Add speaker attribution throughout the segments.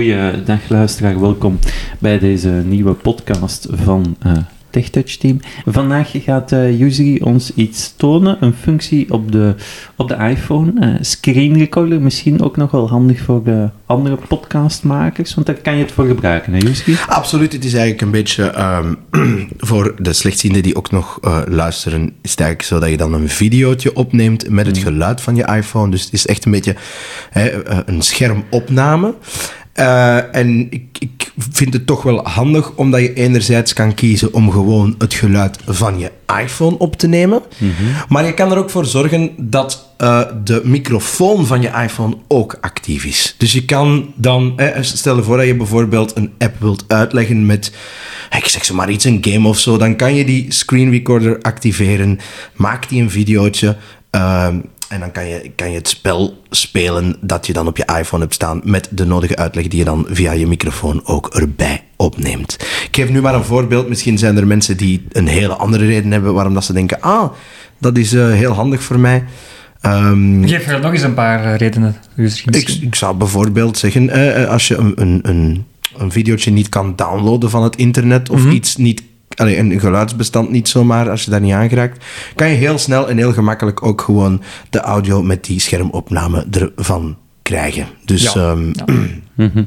Speaker 1: Goeiedag luisteraar, welkom bij deze nieuwe podcast van eh TechTouch Team. Vandaag gaat eh Yuzri ons iets tonen, een functie op de, op de iPhone, eh, screen recorder, misschien ook nog wel handig voor de andere podcastmakers, want daar kan je het voor gebruiken, hè Yuzri?
Speaker 2: Absoluut, het is eigenlijk een beetje ehm, voor de slechtzienden die ook nog eh, luisteren, is het eigenlijk zo dat je dan een videootje opneemt met het geluid van je iPhone. Dus het is echt een beetje hè, eh, een schermopname. Eh, en ik, ik vind het toch wel handig omdat je enerzijds kan kiezen om gewoon het geluid van je iPhone op te nemen. Maar je kan er ook voor zorgen dat eh, de microfoon van je iPhone ook actief is. Dus je kan dan, eh, stel je voor dat je bijvoorbeeld een app wilt uitleggen met, ik zeg zo maar iets, een game of zo, dan kan je die screen recorder activeren, maak die een videootje ehm, en dan kan je, kan je het spel spelen dat je dan op je iPhone hebt staan met de nodige uitleg die je dan via je microfoon ook erbij opneemt. Ik geef nu maar een voorbeeld. Misschien zijn er mensen die een hele andere reden hebben waarom dat ze denken, ah, dat is eh, heel handig voor mij. Ehm,
Speaker 3: Geef er nog eens een paar eh, redenen. Dus
Speaker 2: ik,
Speaker 3: misschien-
Speaker 2: ik zou bijvoorbeeld zeggen, eh, eh, als je een, een, een, een videootje niet kan downloaden van het internet
Speaker 3: Mhm.
Speaker 2: of iets niet, allee, een geluidsbestand niet zomaar, als je daar niet aangeraakt, kan je heel snel en heel gemakkelijk ook gewoon de audio met die schermopname ervan krijgen. Dus
Speaker 3: Ja.
Speaker 2: ehm,
Speaker 3: Ja.
Speaker 1: Mhm.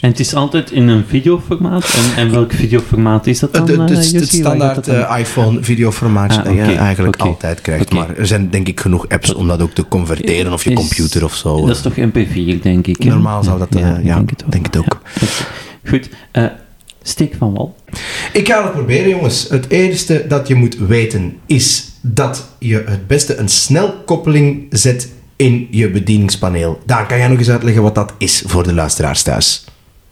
Speaker 1: En het is altijd in een videoformaat, en, en welk videoformaat is dat dan,
Speaker 2: Het, het-
Speaker 1: eh,
Speaker 2: het- het
Speaker 1: Yuzri? Waar gaat dat
Speaker 2: standaard
Speaker 1: dan?
Speaker 2: eh, iPhone videoformaatje
Speaker 1: Ah,
Speaker 2: dat je
Speaker 1: oké,
Speaker 2: eigenlijk
Speaker 1: oké.
Speaker 2: altijd krijgt.
Speaker 1: Oké.
Speaker 2: Maar er zijn denk ik genoeg apps om dat ook te converteren of je
Speaker 1: Is-
Speaker 2: computer of zo. eh.
Speaker 1: Dat is toch MP4, denk ik. hè?
Speaker 2: Normaal zou dat, eh, ja,
Speaker 1: ik
Speaker 2: denk, het ook.
Speaker 1: Goed, eh, steek van wal.
Speaker 2: Ik ga het proberen, jongens. Het eerste dat je moet weten is dat je het beste een snelkoppeling zet in je bedieningspaneel. Daan, kan jij nog eens uitleggen wat dat is voor de luisteraars thuis?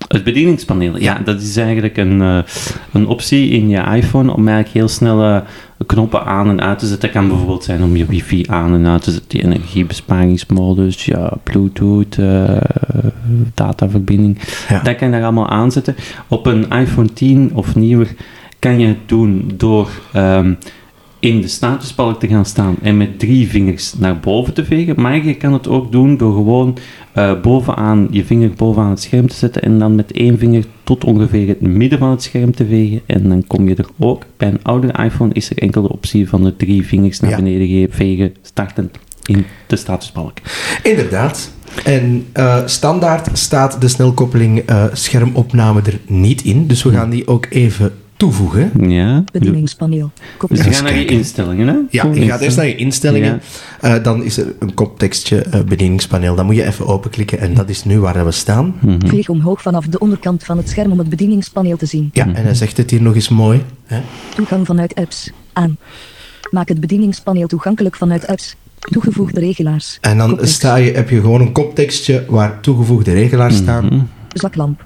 Speaker 1: Het bedieningspaneel, ja, dat is eigenlijk een, eh, een optie in je iPhone om eigenlijk heel snel eh, knoppen aan en uit te zetten. Dat kan bijvoorbeeld zijn om je wifi aan en uit te zetten, die energiebesparingsmodus, ja, Bluetooth, eh, dataverbinding.
Speaker 2: Ja.
Speaker 1: Dat kan je daar allemaal aanzetten. Op een iPhone 10 of nieuwer kan je het doen door ehm, in de statusbalk te gaan staan en met drie vingers naar boven te vegen. Maar je kan het ook doen door gewoon eh, bovenaan je vinger bovenaan het scherm te zetten en dan met één vinger tot ongeveer het midden van het scherm te vegen. En dan kom je er ook. Bij een oudere iPhone is er enkel de optie van de drie vingers naar
Speaker 2: Ja.
Speaker 1: beneden ge- vegen, starten in de statusbalk.
Speaker 2: Inderdaad. En eh, standaard staat de snelkoppeling eh, schermopname er niet in. Dus we gaan die ook even toevoegen.
Speaker 1: Ja.
Speaker 4: Bedieningspaneel.
Speaker 1: Dus we
Speaker 4: Koptekst.
Speaker 1: gaan naar je
Speaker 2: kijken.
Speaker 1: instellingen, hè?
Speaker 2: Ja, je gaat eerst naar je instellingen. Eh, dan is er een koptekstje, eh, bedieningspaneel. Dan moet je even openklikken en dat is nu waar we staan.
Speaker 4: Klik omhoog vanaf de onderkant van het scherm om het bedieningspaneel te zien.
Speaker 2: Ja, en hij zegt het hier nog eens mooi. Hè?
Speaker 4: Toegang vanuit apps. Aan. Maak het bedieningspaneel toegankelijk vanuit apps. Toegevoegde regelaars.
Speaker 2: En dan
Speaker 4: Koptekst.
Speaker 2: sta je, heb je gewoon een koptekstje waar toegevoegde regelaars staan.
Speaker 4: Zaklamp.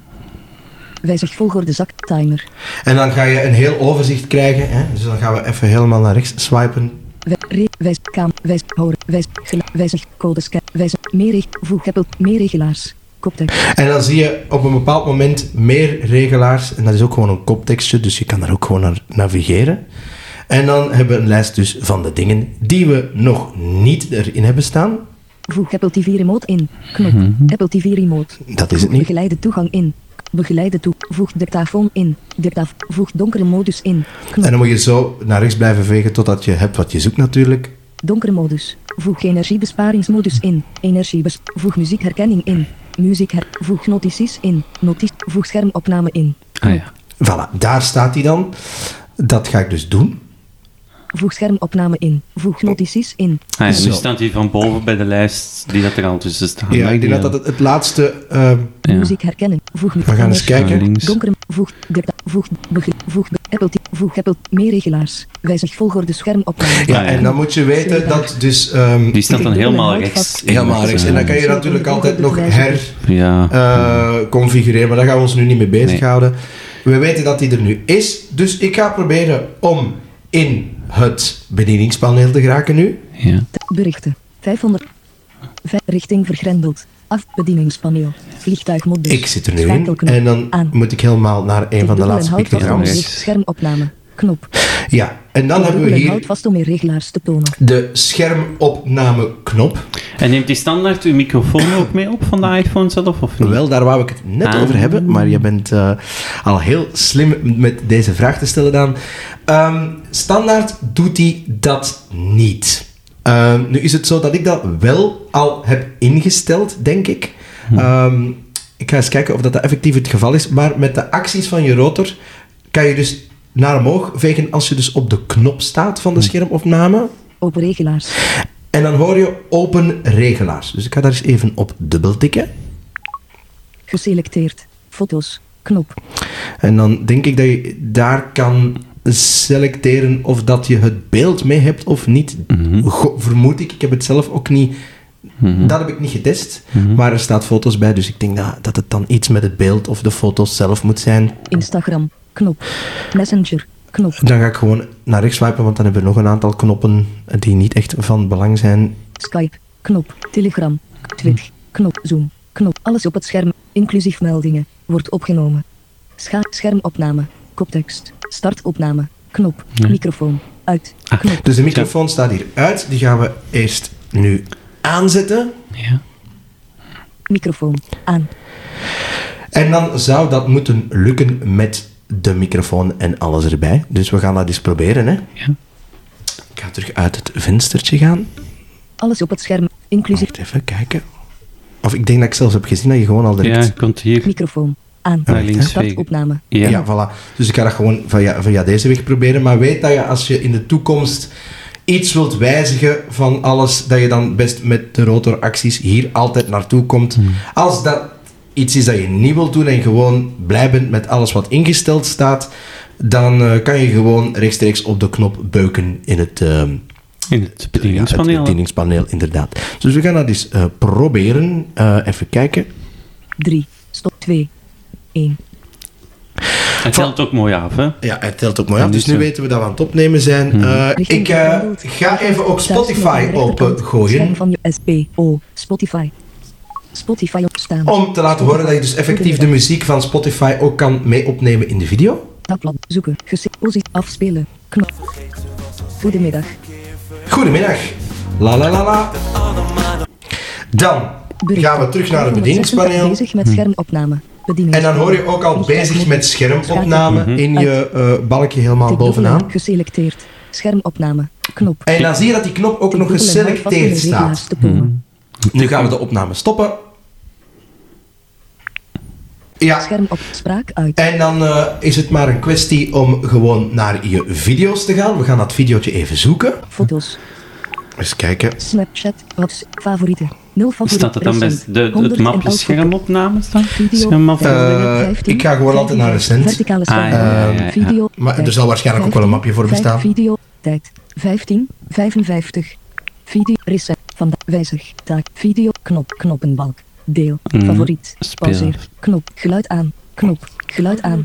Speaker 4: Wijzig volgorde zaktimer.
Speaker 2: En dan ga je een heel overzicht krijgen. Hè? Dus dan gaan we even helemaal naar rechts swipen.
Speaker 4: Wij- re- Wijs kaam. Wijs horen. Wijs gela- wijzig codescan. Wijzig meer reg- voeg Apple meer regelaars. Koptekst.
Speaker 2: En dan zie je op een bepaald moment meer regelaars. En dat is ook gewoon een koptekstje, dus je kan daar ook gewoon naar navigeren. En dan hebben we een lijst dus van de dingen die we nog niet erin hebben staan.
Speaker 4: Voeg Apple TV remote in. Knop.
Speaker 1: Mhm.
Speaker 4: Apple TV remote.
Speaker 2: Dat is het
Speaker 4: Voeg
Speaker 2: niet.
Speaker 4: Begeleide toegang in. Begeleide toe. Voeg dictafoon in. Dictaf. Voeg donkere modus in. Knop.
Speaker 2: En dan moet je zo naar rechts blijven vegen totdat je hebt wat je zoekt natuurlijk.
Speaker 4: Donkere modus. Voeg energiebesparingsmodus in. Energiebes. Voeg muziekherkenning in. Muziek her. Voeg notities in. Noties. Voeg schermopname in.
Speaker 1: Ah, ja.
Speaker 2: Voilà, daar staat hij dan. Dat ga ik dus doen.
Speaker 4: Voeg schermopname in. Voeg notities in.
Speaker 1: Ah, ja,
Speaker 2: Zo.
Speaker 1: nu staat hij van boven bij de lijst die dat er dus al tussen staat.
Speaker 2: Ja, ik denk dat dat het, het laatste... eh,
Speaker 1: Ja.
Speaker 4: Muziek herkennen. Voeg muziek.
Speaker 2: we gaan eens kijken.
Speaker 1: links.
Speaker 4: Donkere. Voeg. Dicta. Voeg. Begre. Voeg. be- Apple. T- Voeg Apple. Meer regelaars. Wijzig volgorde schermopname.
Speaker 2: Ja,
Speaker 1: Ah, ja.
Speaker 2: en dan moet je weten dat dus ehm,
Speaker 1: Die staat dan
Speaker 4: Ik doe
Speaker 1: helemaal
Speaker 4: mijn
Speaker 1: rechts.
Speaker 4: houtvat.
Speaker 2: helemaal rechts. En dan kan je natuurlijk altijd nog her
Speaker 1: Ja.
Speaker 2: eh, configureren, maar daar gaan we ons nu niet mee bezighouden. We weten dat die er nu is, dus ik ga proberen om in het bedieningspaneel te geraken nu.
Speaker 1: ja.
Speaker 4: T- Berichten. 500. Vij- richting vergrendeld. Afbedieningspaneel. Vliegtuigmodus.
Speaker 2: Ik zit er nu in
Speaker 4: Schakelknop.
Speaker 2: en dan
Speaker 4: aan.
Speaker 2: moet ik helemaal naar een van de
Speaker 4: Dubbel
Speaker 2: laatste
Speaker 4: en houd van
Speaker 2: pictograms.
Speaker 4: rechts. Schermopname. Knop.
Speaker 2: Ja, en dan hebben we
Speaker 4: Rubberen hout
Speaker 2: hier
Speaker 4: vast om in regelaars te tonen.
Speaker 2: de schermopnameknop.
Speaker 1: En neemt die standaard uw microfoon ook mee op van de iPhone zelf, of niet?
Speaker 2: Wel, daar wou ik het net
Speaker 1: Ah.
Speaker 2: over hebben, maar je bent eh, al heel slim met deze vraag te stellen dan. Ehm, standaard doet hij dat niet. Ehm, nu is het zo dat ik dat wel al heb ingesteld, denk ik. Ehm, ik ga eens kijken of dat, dat effectief het geval is, maar met de acties van je rotor kan je dus naar omhoog vegen als je dus op de knop staat van de schermopname.
Speaker 4: Op regelaars.
Speaker 2: En dan hoor je open regelaars. Dus ik ga daar eens even op dubbeltikken.
Speaker 4: Geselecteerd. Foto's. Knop.
Speaker 2: En dan denk ik dat je daar kan selecteren of dat je het beeld mee hebt of niet. Go- vermoed ik. Ik heb het zelf ook niet... Dat heb ik niet getest. Maar er staat foto's bij, dus ik denk nou, dat het dan iets met het beeld of de foto's zelf moet zijn.
Speaker 4: Instagram. Knop. Messenger. Knop.
Speaker 2: Dan ga ik gewoon naar rechts swipen, want dan hebben we nog een aantal knoppen die niet echt van belang zijn.
Speaker 4: Skype. Knop. Telegram. Twitch. Knop. Zoom. Knop. Alles op het scherm, inclusief meldingen, wordt opgenomen. Scha schermopname. Koptekst. Startopname. Knop. Microfoon. Uit.
Speaker 1: Ah.
Speaker 4: Knop.
Speaker 2: Dus de microfoon staat hier uit. Die gaan we eerst nu aanzetten.
Speaker 1: Ja.
Speaker 4: Microfoon. Aan.
Speaker 2: En dan zou dat moeten lukken met de microfoon en alles erbij. Dus we gaan dat eens proberen, hè.
Speaker 1: Ja.
Speaker 2: Ik ga terug uit het venstertje gaan.
Speaker 4: Alles op het scherm, inclusief
Speaker 2: Wacht even, kijken. Of ik denk dat ik zelfs heb gezien dat je gewoon al direct...
Speaker 1: Ja, komt hier
Speaker 4: microfoon. Aan.
Speaker 1: naar links vegen.
Speaker 4: Startopname.
Speaker 1: Ja.
Speaker 2: Ja, voilà. Dus ik ga dat gewoon via, via deze weg proberen. Maar weet dat je als je in de toekomst iets wilt wijzigen van alles, dat je dan best met de rotoracties hier altijd naartoe komt. Als dat iets is dat je niet wilt doen en gewoon blij bent met alles wat ingesteld staat, dan eh, kan je gewoon rechtstreeks op de knop beuken in het... ehm,
Speaker 1: in het
Speaker 2: ja, het
Speaker 1: bedieningspaneel.
Speaker 2: bedieningspaneel, inderdaad. Dus we gaan dat eens eh, proberen. Eh, even kijken.
Speaker 4: 3. Stop. 2. 1.
Speaker 1: het telt ook mooi af, hè?
Speaker 2: Ja, het telt ook mooi af.
Speaker 1: Ja,
Speaker 2: Dus
Speaker 1: dus,
Speaker 2: nu
Speaker 1: eh, Mhm.
Speaker 2: weten we dat we aan het opnemen zijn. Eh, ik eh, ga even ook Spotify
Speaker 4: Scherm
Speaker 2: opengooien.
Speaker 4: van je SPO. Spotify. Spotify opstaan.
Speaker 2: Om te laten horen dat je dus effectief de muziek van Spotify ook kan mee opnemen in de video.
Speaker 4: Tabblad. Zoeken. Gezicht. Positie. Afspelen. Knop. Goedemiddag.
Speaker 2: Goedemiddag. La la la la. Dan gaan we terug naar het bedieningspaneel.
Speaker 4: Bezig
Speaker 1: Hm.
Speaker 4: met schermopname. Bediening.
Speaker 2: En dan hoor je ook al bezig met schermopname in je eh, balkje helemaal bovenaan.
Speaker 4: Geselecteerd. Schermopname. Knop.
Speaker 2: En dan zie je dat die knop ook nog geselecteerd staat. Nu gaan we de opname stoppen.
Speaker 1: Hm.
Speaker 2: Ja,
Speaker 4: Scherm op spraak uit.
Speaker 2: En dan eh, is het maar een kwestie om gewoon naar je video's te gaan. We gaan dat videootje even zoeken.
Speaker 4: Foto's.
Speaker 2: Eens kijken.
Speaker 4: Snapchat. What's favorieten. Nul favorieten.
Speaker 1: Staat het dan best de, het mapje schermopnames dan? Schermafbeeldingen?
Speaker 2: Eh, ik ga gewoon altijd naar recent.
Speaker 4: Verticale
Speaker 1: Ah, ja, ja, ja, ja.
Speaker 4: eh, Video.
Speaker 2: Maar er
Speaker 4: tijd,
Speaker 2: zal waarschijnlijk ook wel een mapje voor
Speaker 4: 15,
Speaker 2: bestaan.
Speaker 4: Video. Tijd. 15. 55. Video. Recent. Van de wijzig. Taak. Video. Knop. Knoppenbalk. Deel.
Speaker 1: Mm,
Speaker 4: Favoriet.
Speaker 1: speel.
Speaker 4: Pauzeer. Knop. Geluid aan. Knop. Geluid aan.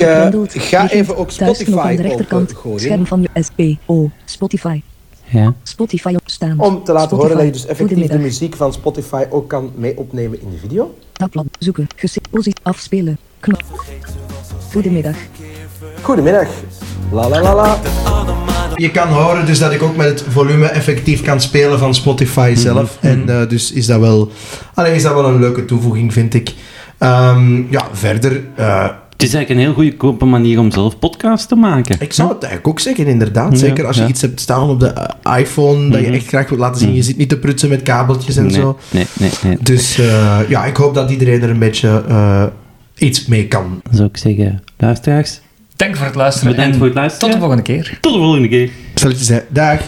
Speaker 2: Ik, eh,
Speaker 4: geblendeld,
Speaker 2: ga
Speaker 4: liggend,
Speaker 2: even ook Spotify
Speaker 4: thuisknop aan de rechterkant.
Speaker 2: opengooien.
Speaker 4: Scherm van je SPO. Spotify.
Speaker 1: Ja.
Speaker 4: Spotify opstaan.
Speaker 2: Om te laten horen dat je dus effectief de
Speaker 4: Goedemiddag.
Speaker 2: muziek van Spotify ook kan mee opnemen in de video.
Speaker 4: Tabblad zoeken, geseposit afspelen, knop. Goedemiddag,
Speaker 2: Goedemiddag. La la la la. Je kan horen dus dat ik ook met het volume effectief kan spelen van Spotify zelf. En eh, dus is dat, wel, alleen is dat wel een leuke toevoeging, vind ik. Ehm, ja, verder... eh,
Speaker 1: Het is eigenlijk een heel goede kope manier om zelf podcasts te maken.
Speaker 2: Ik zou het eigenlijk ook zeggen, inderdaad.
Speaker 1: Ja,
Speaker 2: Zeker als je
Speaker 1: ja. Mhm.
Speaker 2: iets hebt staan op de eh, iPhone dat je echt graag wilt laten zien. Je zit niet te prutsen met kabeltjes en
Speaker 1: nee,
Speaker 2: zo.
Speaker 1: Nee, nee, nee.
Speaker 2: Dus eh, ja, ik hoop dat iedereen er een beetje eh, iets mee kan.
Speaker 1: Dan zou ik zeggen, luisteraars,
Speaker 3: Dank voor het luisteren.
Speaker 1: bedankt
Speaker 3: en
Speaker 1: voor het
Speaker 3: Tot de
Speaker 1: luisteren.
Speaker 3: volgende keer.
Speaker 1: Tot de volgende keer.
Speaker 2: Zal ik je zeggen, dag.